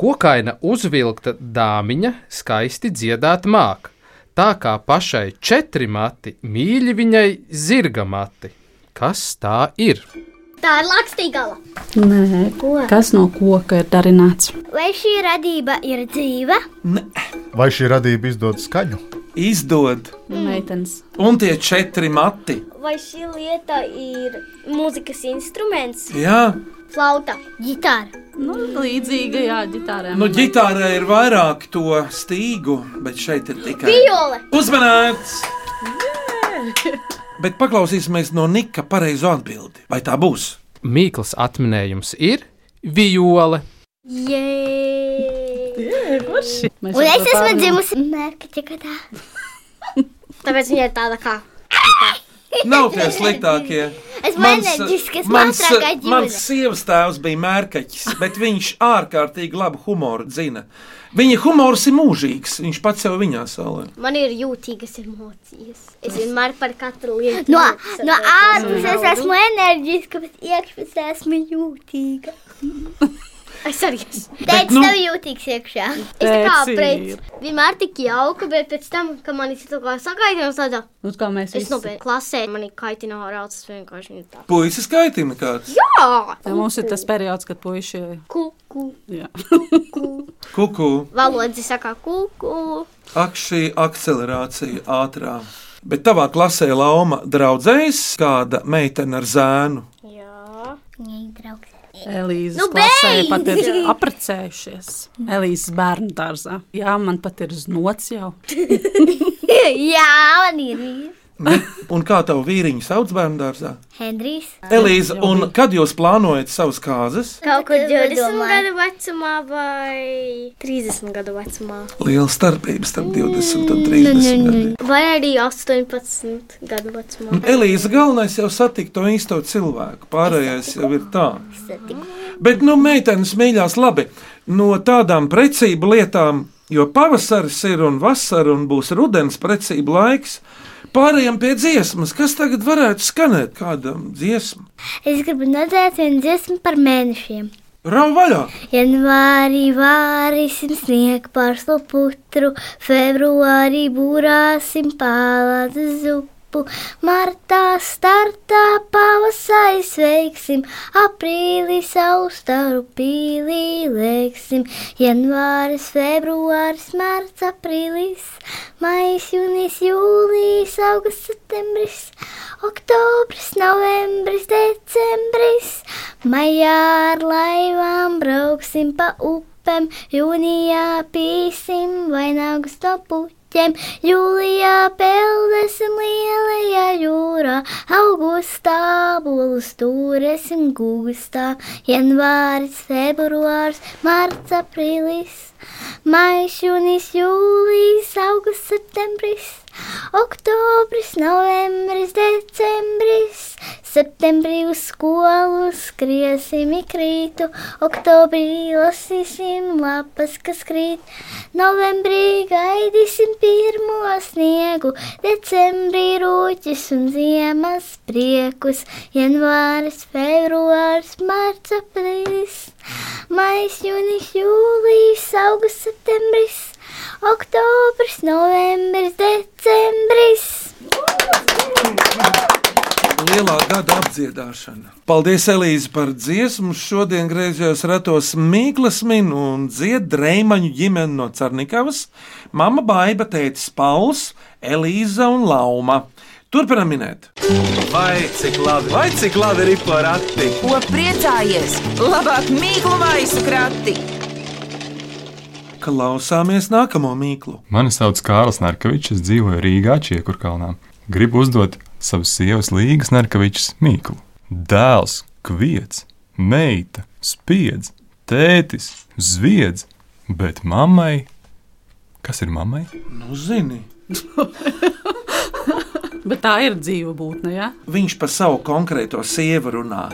S13: Kokaina uzvilkta dāmiņa skaisti dziedāt māk, tā kā pašai četri mati mīļi viņai zirga mati. Kas tā ir?
S5: tā ir lakstīgala.
S4: Nē,
S5: Ko?
S4: kas no koka ir darināts?
S5: Vai šī radība ir dzīva?
S6: Vai šī radība izdod skaņu?
S3: izdod.
S4: Nu, Meitenes.
S3: Un tie četri mati.
S11: Vai šī lieta ir mūzikas instruments?
S3: Jā,
S11: Flauta.
S5: Gitāra.
S4: Nu, līdzīga, jā, ģitārē.
S3: nu, ģitārē ir vairāk to stīgu, bet šeit ir tikai
S5: Viole.
S3: Uzmanīts! Bet paklausīsimies no Nika pareizo atbildi. Vai tā būs?
S13: Mīklas atminējums ir viole.
S5: Jē!
S4: Mēs
S5: Un
S4: jau
S5: es esmu
S4: to pārrunājām.
S5: dzimusi Mērķa gadā.
S7: Tāpēc viņa ir tāda kā.
S3: Nav tie sliktākie.
S5: Esmu
S3: Mans-
S5: enerģiskas,
S3: mans-
S5: ātrākā ģimene.
S3: Mans sievas tēvs bija mērkaķis, bet viņš ārkārtīgi labu humoru zina. Viņa humors ir mūžīgs, viņš pats sev viņā salē.
S7: Man ir jūtīgas emocijas. Es vienmēr par katru lietu.
S5: No,
S7: saprotu.
S5: no ārpuses esmu enerģiska, bet iekšpusē esmu jūtīga.
S7: Es arī esmu.
S5: Teic,
S3: nu-
S5: nu, tev jūtīgs iekšā.
S7: Es tā kā
S4: Tētis ir.
S7: pret vienmēr tik jauka, bet pēc tam, kad man ir kaut kā sakaitinājums tādā,
S4: Nu, kā mēs
S7: es
S4: visi.
S7: nopietni klasē, man ir kaitināja raucas vienkārši viņa tā.
S3: Puisis kaitina kāds.
S7: Jā!
S4: Ja mums ir tas periods, kad puiši.
S7: Kuku.
S4: Jā.
S3: Kuku,
S7: Valodzi saka kuku.
S3: ak, šī akcelerācija ātrā. Bet tavā klasē lauma draudzējas kāda meitene ar zēnu.
S7: Jā.
S4: Elīzes
S5: Nu,
S4: nu, klasē
S5: beidz!
S4: pat ir apprecējušies. Elīzes bērnu dārzā. Jā, man pat ir znots jau.
S5: Jā, man ir
S3: Un kā tavu vīriņu sauc bērnu dārzā?
S5: Henrijs.
S3: Elīze, un kad jūs plānojat savas kāzas?
S5: Kaut kur
S7: 20
S5: domāju.
S7: gadu vecumā vai 30 gadu vecumā.
S3: Liela starpība starp 20 un 30 gadiem.
S7: Vai arī 18 gadu vecumā.
S3: Elīze, galvenais jau satikt to īsto cilvēku. Pārējais jau ir tā. Bet, nu, meitenes mīļās, labi. No tādām precību lietām, jo pavasaris ir un vasara un būs rudens precību laiks, pārējām pie dziesmas. Kas tagad varētu skanēt kādam dziesmu?
S5: Es gribu nodot vienu dziesmu par mēnešiem.
S3: Rau vaļā!
S5: Janvārī vārīsim sniegu pārslu putru, februārī būrāsim pālādu zupu, martā startā pavasarī sveiksim, aprīlī saustaru pīlī lēksim, janvāris, februāris, mārts, aprīlis, maijs, jūnijas, jūlijas, augusts, septembris, oktobris, novembris, decembris. Maijā ar laivām brauksim pa upi. lapam, jūnijā pīsim vainagus no puķiem, jūlijā peldēsim lielajā jūrā, augustā būs turēsim gūstā, janvāris, februārs, marts, aprīlis. Maijs, jūnijas, jūlijas, augusts, septembris, oktobris, novembris, decembris. Septembrī uz skolu skriesim ikrītu, oktobrī lasīsim lapas, kas krīt. Novembrī gaidīsim pirmo sniegu, decembrī rūķis un ziemas priekus. Janvāris, februārs, mārts, aprīlis, maijs, jūnijas, jūlijas, augusts, septembris, oktobris, novembris, decembris.
S3: Lielā gada apdziedāšana. Paldies, Elīze, par dziesmu. Šodien griezos ratos Mikls Minu un dziedā Reimaņu ģimeni no Cernikavas. Mama Baiba, tētis Pauls, Elīza un Lauma. Turpinam minēt.
S1: Vai cik labi, vai cik labi ir porakti?
S2: Ko priecājies? Labāk mīklu maisu krati!
S3: Klausāmies nākamo mīklu.
S14: Mani sauc Kārlis Narkevičs, es dzīvoju Rīgā, Čiekurkalnā. Gribu uzdot savas sievas Līgas Narkevičs mīklu. Dēls, kviets, meita, spiedz, tētis, zviedz, bet mammai. Kas ir mammai?
S3: Nu, zini,
S4: Bet tā ir dzīva būtne. Ja?
S3: viņš par savu konkrēto sievu runā.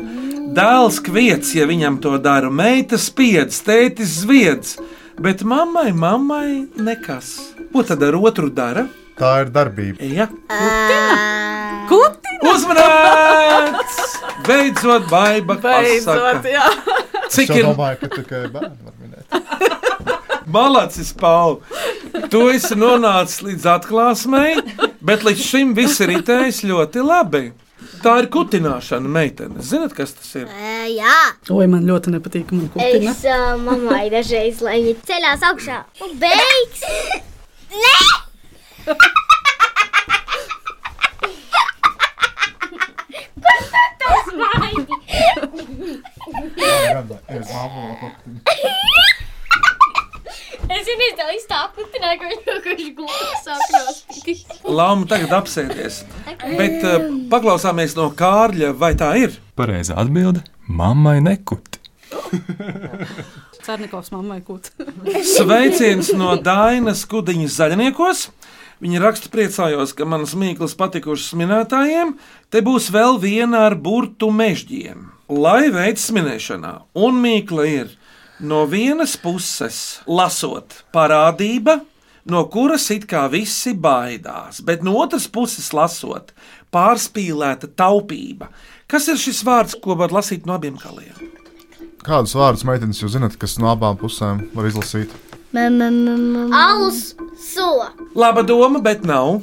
S3: Dēls kviets, ja viņam to dara, meita spiedz, tētis zviedz, bet mammai, mammai nekas. Ko tad ar otru dara?
S6: Tā ir darbība.
S3: Ja.
S4: Kutina!
S3: Uzmanīts! Beidzot, baiba! pasaka.
S9: jā.
S3: Cik
S6: Es
S3: ir?
S6: jau domāju, ka tikai bērni var minēt.
S3: Malacis, Pāvils, tu esi nonācis līdz atklāsmei, bet līdz šim viss ir itējis ļoti labi. Tā ir kutināšana, meitene. Ziniet, kas tas ir?
S5: E, jā,
S4: Oi, man ļoti nepatīk, man kutina.
S5: es uh, mammai dažreiz leņķi ceļās augšā. Un beigs! Nē!
S11: Es zinu, es tev izstāputināju, ka viņš kaut ko gluži saprot.
S3: Lama tagad apsēties. Bet uh, paklausāmies no Kārļa, vai tā ir?
S14: Pareizā atbilde - mammai nekut.
S4: Cernikovs mammai kūt.
S3: Sveiciens no Dainas Kudiņas zaļniekos. Viņa raksta, priecājos, ka manas mīklas patikušas minētājiem. Te būs vēl viena ar burtu mežģiem. Lai veids minēšanā, un mīkla ir no vienas puses lasot parādība, no kuras it kā visi baidās, bet no otras puses lasot pārspīlēta taupība. Kas ir šis vārds, ko var lasīt no abiem kaliem?
S6: Kādus vārdus meitenes jūs zinat, kas no abām pusēm var izlasīt?
S5: Alus sola!
S3: Laba doma, bet nav.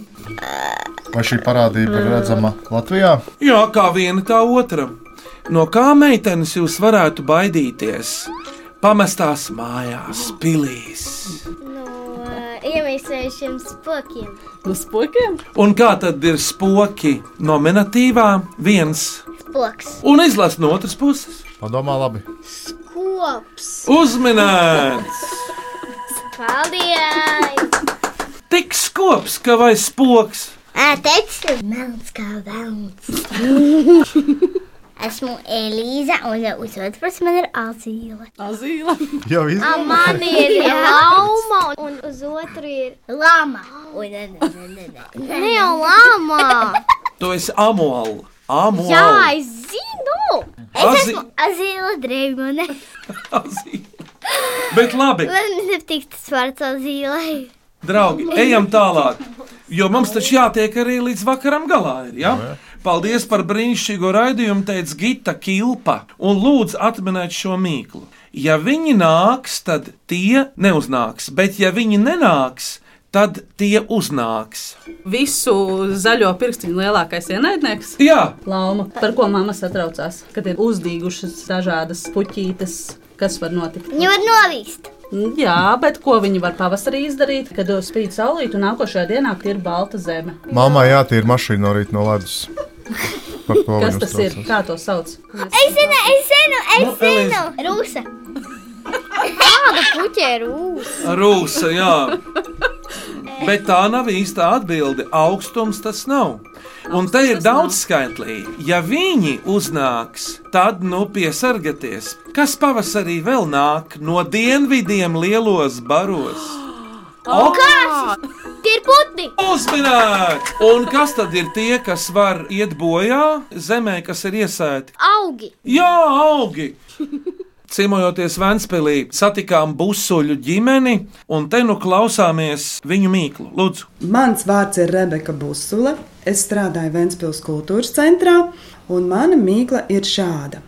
S6: Vai šī parādība ir redzama Latvijā?
S3: Jā, kā viena, tā otra. No kā meitenes jūs varētu baidīties? Pamestās mājās, pilīs.
S5: Nu, Iemīsējušiem spokiem.
S4: No spokiem?
S3: Un kā tad ir spoki nominatīvā, viens
S5: Spoks.
S3: un izlases no otras puses?
S6: Padomā, labi.
S5: Kops.
S3: Uzminēts!
S5: Paldies!
S3: Tik skops, ka vai spoks?
S5: Teicu, melns kā velns. Esmu Elīza, un uzvedības man ir azīle.
S4: Azīle.
S6: Jau izlasīt.
S5: A, man ir lauma, un uz otru ir lama. Oi, ne, ne, ne, ne, ne. Ne jau lama!
S3: Tu esi amola. Amola.
S5: Jā, es zinu! Es
S3: Azī-
S5: esmu azīle dreimone.
S3: Bet labi,
S5: Man nepatīk tas vārds azīlei.
S3: draugi, ejam tālāk. Jo mums taču jātiek arī līdz vakaram galā. Ir, ja? Paldies par brīnišķīgo raidījumu, teica Gita Kilpa. Un lūdzu, atminiet šo mīklu. Ja viņi nāks, tad tie neuznāks, bet ja viņi nenāks, tad tie uznāks.
S4: Visu zaļo pirkstiņu lielākais ienaidnieks.
S3: Jā,
S4: Lauma, par ko mamma satraucās, kad ir uzdīgušas dažādas puķītes, kas var notikt.
S5: Viņu var novīst.
S4: Jā, bet ko viņi var pavasarī izdarīt, kad spīd saulīt un nākošajā dienā ir balta zeme?
S6: Māmā jātīra mašīna no rīta no ledus. Par to
S4: Kas
S6: viņa
S4: tas ir?
S6: uztraucās.
S4: Kā to sauc?
S5: Es zinu, es zinu, es
S6: Nu,
S5: zinu. Rūsa. Kāda puķa ir rūsa?
S3: Rūsa, jā. Bet tā nav īsta atbilde. Augstums tas nav. Un te ir daudz skaitlīgi. Ja viņi uznāks, tad nu piesargieties. Kas pavasarī vēl nāk no dienvidiem lielos baros?
S5: O, kāds? Tie ir putni!
S3: Uzminēt! Un kas tad ir tie, kas var iet bojā zemē, kas ir iesaistīti?
S5: Augi!
S3: Jā, augi! Cimojoties Vēnspēlī, satikām busuļu ģimeni, un te nu klausāmies viņu mīklu. Lūdzu,
S15: Mans vārds ir Rebeka Busula. Es strādāju Vēncpils kultūras centrā, un mana mīkla ir šāda.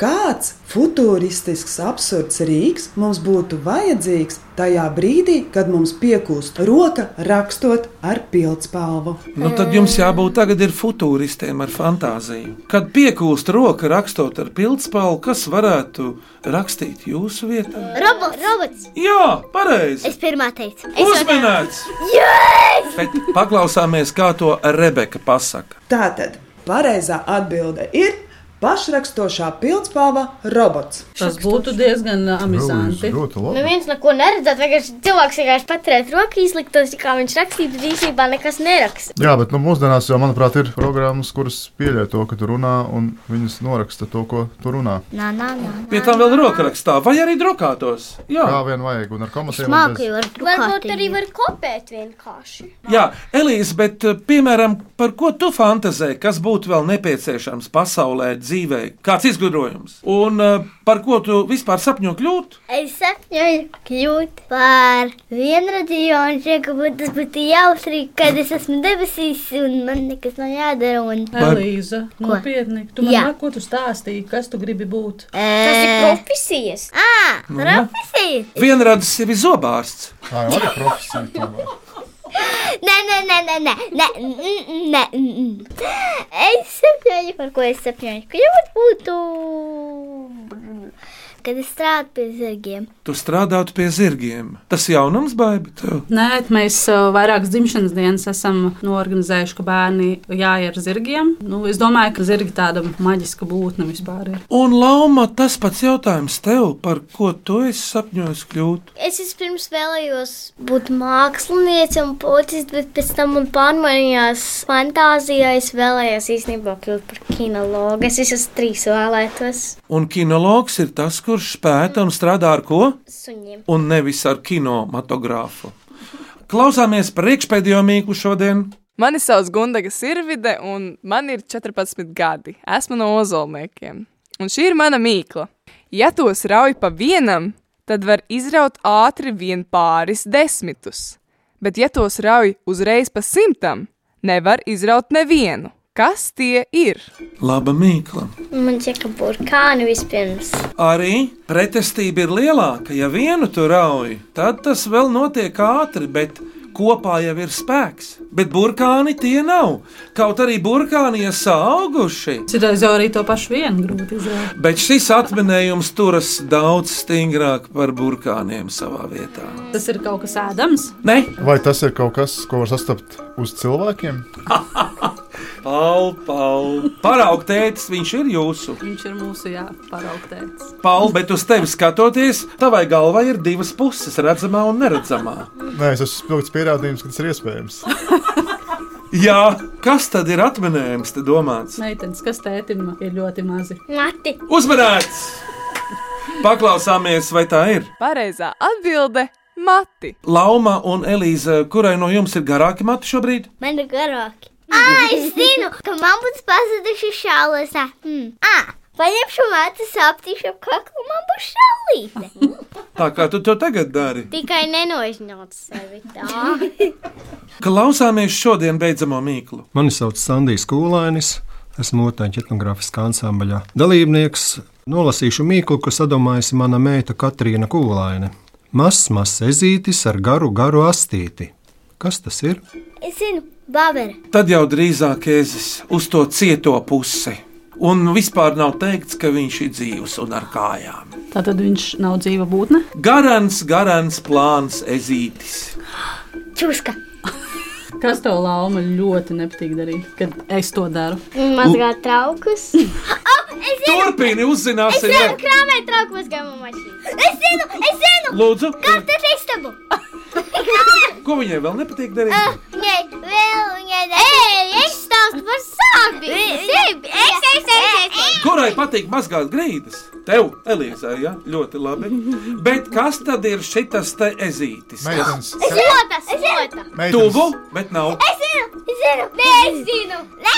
S15: Kāds futuristisks, absurds rīks mums būtu vajadzīgs tajā brīdī, kad mums piekūst roka rakstot ar pildspalvu?
S3: nu tad jums jābūt tagad ir futūristiem ar fantāziju. Kad piekūst roka rakstot ar pildspalvu, kas varētu rakstīt jūsu vietā?
S5: Robots! Robots.
S3: Jā, pareizi!
S5: Es pirmā teicu.
S3: Uzminēts!
S5: Yes!
S3: Bet paklausāmies, kā to Rebeka pasaka.
S15: Tātad pareizā atbilde ir pašrakstošā pildspalva robots.
S4: Tas būtu diezgan ā, amizanti.
S7: Neviens neko neredzēt, vienkārši cilvēks vienkārši paturēt roku izliktos, kā viņš rakstītu, bet īsībā nekas neraksta.
S6: Jā, bet nu, mūsdienās jau, manuprāt, ir programmas, kuras pieļauj to, ka tu runā, un viņas noraksta to, ko tu runā.
S5: Nā, nā, nā.
S3: Pie tam vēl rokrakstā, vai arī drukātos. Jā,
S6: Kā vien vajag, un ar komatiem. un bez.
S5: Māku jau ar
S11: Varbūt
S5: drukātību.
S11: arī var kopēt vienkārši.
S3: jā Elīze, bet eh, piemēram, par ko tu fantāzē, kas būtu vēl nepieciešams pasaulē, dzīvē, kāds izgudrojums? Un eh, par ko tu vispār sapņo kļūt?
S5: Es sapņoju kļūt par vienradīju, un šeit būtu tas būtu jautrīgi, kad es esmu debesīs, un man nekas nav jādara. Un...
S9: Elīza,
S5: Ko?
S9: nopietni. Tu man
S5: Jā.
S9: nāk, ko tu stāstīji, kas tu gribi būt?
S5: Tas ir Mhm.
S11: profesijas.
S5: À,
S3: Nu.
S5: profesijas!
S3: Vienradis sevi zobārsts.
S6: Tā jau ir profesija.
S5: Nē, nē, nē, nē, nē, nē, mm, mm, nē. mm, mm. Es sapņoju, par ko es sapņoju. Kļūt būtu, kad es strādāju pie zirgiem.
S3: Tu strādātu pie zirgiem. Tas jaunums baidās tev.
S4: Nē, mēs ā, vairākas dzimšanas dienas esam norganizējuši, ka bērni jāiet ar zirgiem. Nu, es domāju, ka zirgi tāda maģiska būtne vispār ir.
S3: Un Lapa, tas pats jautājums tev, par ko tu esi sapņojis kļūt?
S7: Es pirms vēlējos būt mākslinieci un policists, bet pēc tam man pārmaiņās fantāzijā. Es vēlējos īstenībā kļūt par kinologu. Es visas trīs vēlētos.
S3: Un kinologs ir tas, kurš pēta un strādā ar ko?
S7: Suņiem.
S3: Un nevis ar kinematogrāfu. Klausāmies priekšpēdējo mīklu šodien.
S16: Mani sauc Gundaga Sirvide, un man ir 14 gadi. Esmu no ozolniekiem. Un šī ir mana mīkla. Ja tos rauj pa vienam, tad var izraut ātri vien pāris desmitus. Bet, ja tos rauj uzreiz pa simtam, nevar izraut nevienu. Kas tie ir?
S3: Laba mīkla.
S7: Man čeka burkāni vispirms.
S3: Arī pretestība ir lielāka. Ja vienu tu rauj, tad tas vēl notiek ātri, bet kopā jau ir spēks. Bet burkāni tie nav. Kaut arī burkāni ir auguši.
S4: Citreiz jau arī to pašu vienu grūti izdarīt.
S3: Bet šis atminējums turas daudz stingrāk par burkāniem savā vietā.
S4: Tas ir kaut kas ēdams.
S3: Nē,
S6: Vai tas ir kaut kas, ko var sastapt uz cilvēkiem?
S3: Pau, pau. Paraugs tētis, viņš ir jūsu.
S4: Viņš ir mūsu jāparaugtēts.
S3: Pau, bet uz tevis skatoties, tavai galvai ir divas puses - redzamā un neredzamā.
S6: Nē, es esmu spilgts pierādījums, ka tas ir iespējams.
S3: Jā, kas tad ir atminējums, te domāts?
S4: Meitenes, kas tētim ir ļoti mazi.
S7: Mati!
S3: Uzmanīts! Paklausāmies, vai tā ir.
S16: Pareizā atbilde - mati.
S3: Lauma un Elīze, kurai no jums ir garāki mati šobrīd?
S5: Man ir garāki. Ai, es zinu, ka man būs pazuduši šālēsā. Hmm. Ah, paņemšu māti, saptīšu ap kaklu, man būs šālīte.
S3: Tā kā tu to tagad dari.
S7: Tikai nenoizņauts sevi tā.
S3: Klausāmies šodien beidzamo mīklu.
S17: Mani sauc Sandijs Kūlainis, esmu Otāņu etnogrāfiskā ansambļa dalībnieks. Nolasīšu mīklu, ko sadomājusi mana meita Katrīna Kūlaine. Mazs, mazs ezītis ar garu, garu astīti. Kas tas ir?
S5: Es zinu, babere.
S3: Tad jau drīzāk ēzis uz to cieto pusi. Un vispār nav teikts, ka viņš ir dzīvs un ar kājām.
S4: Tātad viņš nav dzīva būtne.
S3: Garants, garants plāns, ezītis.
S5: Čuska.
S4: Kas tev lauma ļoti nepatīk darīt, kad es to daru?
S7: Mazgāt traukus.
S5: Ah, Es zinu,
S3: Turpini,
S5: Es
S3: uzzināsim.
S5: zinu, krāpēt trauku uzgājumu mašīnu. Es zinu, es zinu!
S3: Lūdzu,
S5: Kāp tas istabu?
S3: ko viņai vēl nepatīk darīt?
S5: Nē, vēl viņai ne. Ej, es stāstu par sāpju. Es, es, es, es.
S3: Kurai patīk mazgāt grīdas? Tev, Elīzai, ja? ļoti labi. Bet kas tad ir šis te ezītis?
S5: Es zinu, tas ir.
S3: Tuvu, bet nav.
S5: Es zinu, es zinu. Nē, es zinu. Nē, es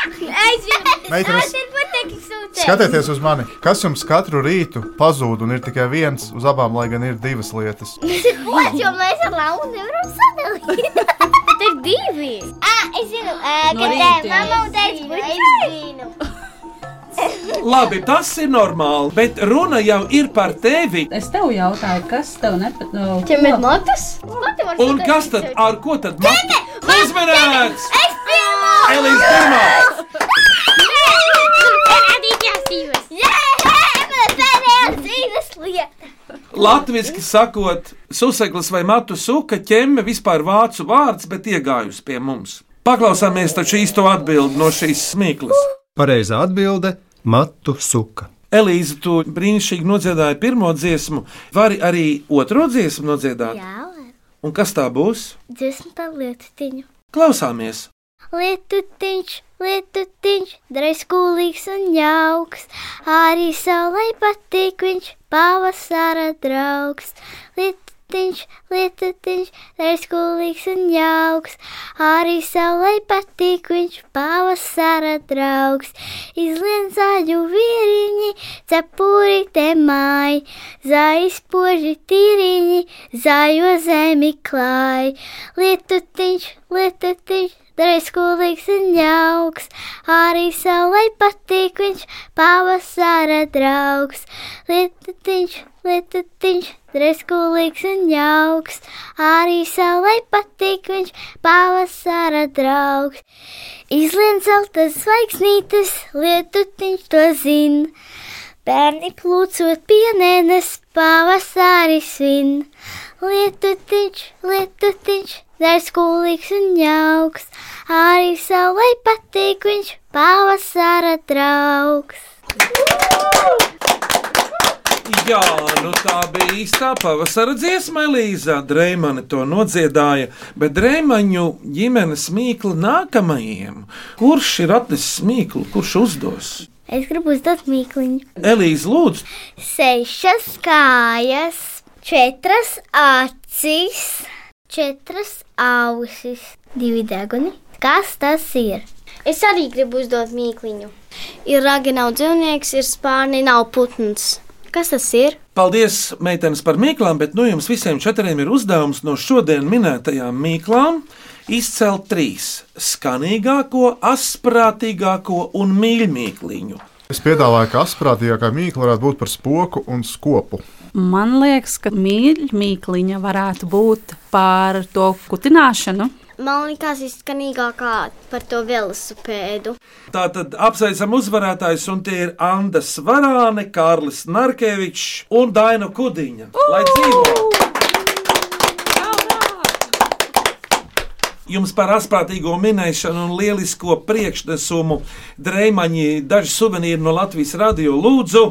S5: zinu.
S18: Meitenes.
S5: Tas ir pateikts sūtē.
S18: Skatieties uz mani, kas jums katru rītu pazūd, un ir tikai viens uz abām, lai gan ir divas lietas.
S5: Ko jau mēs ar Lauru nevaram sadalīt? Bet ir divi. Ah, es zinu, ā,
S11: No
S5: kad ā,
S11: rīta.
S5: mamma un teica, buļķis.
S3: Labi, tas ir normāli, bet runa jau ir par tevi.
S4: Es tev jautāju, kas tev nepatīk? No,
S9: nu,
S7: Čem ir
S4: matus?
S3: Un kas tad ar ko tad matu? Uzmanīgs!
S5: Es pirmā!
S3: Elīze pirmā! Latvijasiski sakot, suseglis vai matu suka ķemme vispār vācu vārds, bet iegājus pie mums. Paklausāmies taču īsto atbildi no šīs smīklas.
S17: Pareizā atbilde - matu suka.
S3: Elīze, tu brīnišķīgi nodziedāji pirmo dziesmu, vari arī otro dziesmu nodziedāt.
S5: Jā,
S3: Un kas tā būs?
S5: dziesmu par lietutiņu.
S3: Klausāmies!
S5: Lietutiņš, lietutiņš, draiskulīgs un jauks, arī saulē patīk viņš pavasara draugs. Lietutiņš, lietutiņš, draiskulīgs un jauks, arī saulē patīk viņš pavasara draugs. Izlien zaļu vīriņi, cepuri te māji, zaispoži tīriņi, zaļo zemi klāj. Lietutiņš, lietutiņš, Darīs skolīgs un jauks, arī saulē patīk viņš pavasara draugs. Lietatiņš, lietatiņš, darīs skolīgs un jauks, arī saulē patīk viņš pavasara draugs. Izlien zeltas zvaigznītes, lietatiņš to zina. Bērni plūcot pienēnes, pavasarī svin. Lietutiņš, lietutiņš, dārsts kūlīgs un jauks, arī savai patīk viņš pavasara draugs.
S3: Jā, nu tā bija īstā pavasara dziesma, Elīza. Dreimani to nodziedāja, bet drēmaņu ģimenes mīklu nākamajiem. Kurš ir atnesis mīklu, kurš uzdos?
S5: Es gribu uzdot mīkliņu.
S3: Elīze, lūdzu,
S5: Sešas kājas, četras acis, četras ausis, divi deguni. Kas tas ir?
S7: Es arī gribu uzdot mīkliņu. Ir ragi, nav dzīvnieks, ir spārni, nav putns. Kas tas ir?
S3: paldies, meitenes, par mīklām, bet nu jums visiem četriem ir uzdevums no šodien minētajām mīklām izcelt trīs - skanīgāko, asprātīgāko un mīļākliņu.
S18: Es piedāvāju, ka asprātīgākā mīkla varētu būt par spoku un skopu.
S4: Man liekas, ka mīļa mīkliņa varētu būt par to kutināšanu.
S7: Man liekas, izskanīgākā par to velosipēdu.
S3: Tātad apsveicam uzvarētājus, un tie ir Anna Svarāne, Kārlis Narkevičs un Daina Kudiņa. Lai dzīvo! Jums par astprātīgo minēšanu un lielisko priekšnesumu drēmaņi daži suvenīri no Latvijas radio lūdzu.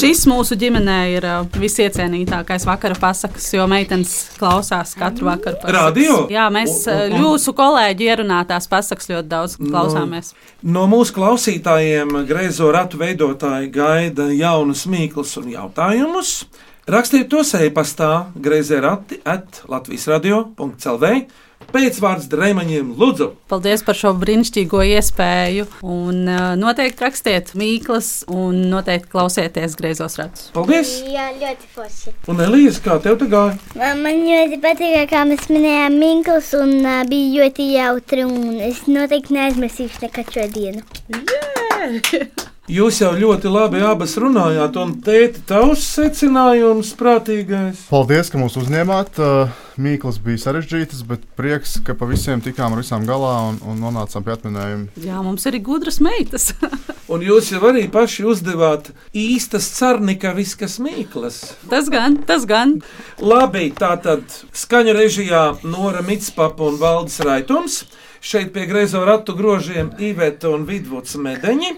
S4: Šis mūsu ģimenē ir uh, visiecienītākais vakara pasakas, jo meitenes klausās katru vakaru. pasakas.
S3: Radio?
S4: Jā, mēs
S3: Un-
S4: uh,
S3: un- un-
S4: jūsu kolēģi ierunātās pasakas ļoti daudz klausāmies.
S3: No, no mūsu klausītājiem greizo ratu veidotāji gaida jaunas mīklas un jautājumus. Rakstiet tos e-pastā grazē rati at Latvijas radio. CELV pēcvārds drēmaņiem lūdzu.
S4: Paldies par šo brīnišķīgo iespēju. Un uh, noteikti rakstiet mīklas, un noteikti klausieties griezos ratus.
S3: Paldies!
S5: Jā, ļoti forši.
S3: Un Elīze, kā tev te gāja?
S5: Man, man ļoti patīk, kā mēs minējām Minklus, un uh, bija ļoti jautri, un es noteikti neaizmirsīšu nekad šo dienu.
S3: Jūs jau ļoti labi abas runājāt, un tēti, tavs secinājums prātīgais.
S18: Paldies, ka mūs uzņēmāt. Uh, Mīklas bija sarežģītas, bet prieks, ka pa visiem tikām ar visām galā un, un nonācām pie atminējuma.
S4: Jā, mums ir gudras meitas.
S3: Un jūs jau arī paši uzdevāt īstas cernika viskas mīklas.
S4: Tas gan, tas gan.
S3: Labi, tā tad skaņa režijā Nora Mitspapa un Valdis Raitums. Šeit pie griezo ratu grožiem Iveta un Vidvuds medeņi.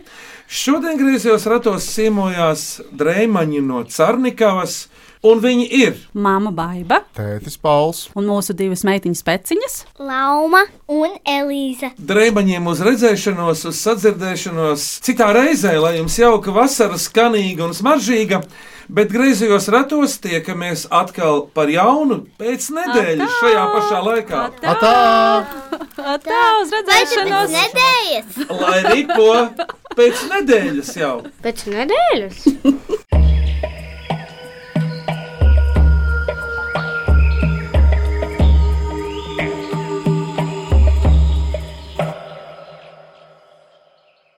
S3: Šodien griezos ratos ciemojās drēmaņi no Carnikavas, un viņi ir
S4: Māma Baiba
S6: Tētis Pauls
S4: un mūsu divas meitiņas peciņas.
S5: Lauma un Elīza.
S3: drēbaņiem uz redzēšanos, uz sadzirdēšanos. Citā reizē, lai jums jauka vasara, skanīga un smaržīga, bet griezījos ratos tiekamies atkal par jaunu pēc nedēļas šajā pašā laikā.
S5: Atā!
S4: Tā uz
S5: redzēšanos! Nedēļas!
S3: Lai ripo pēc nedēļas jau!
S7: Pēc nedēļas!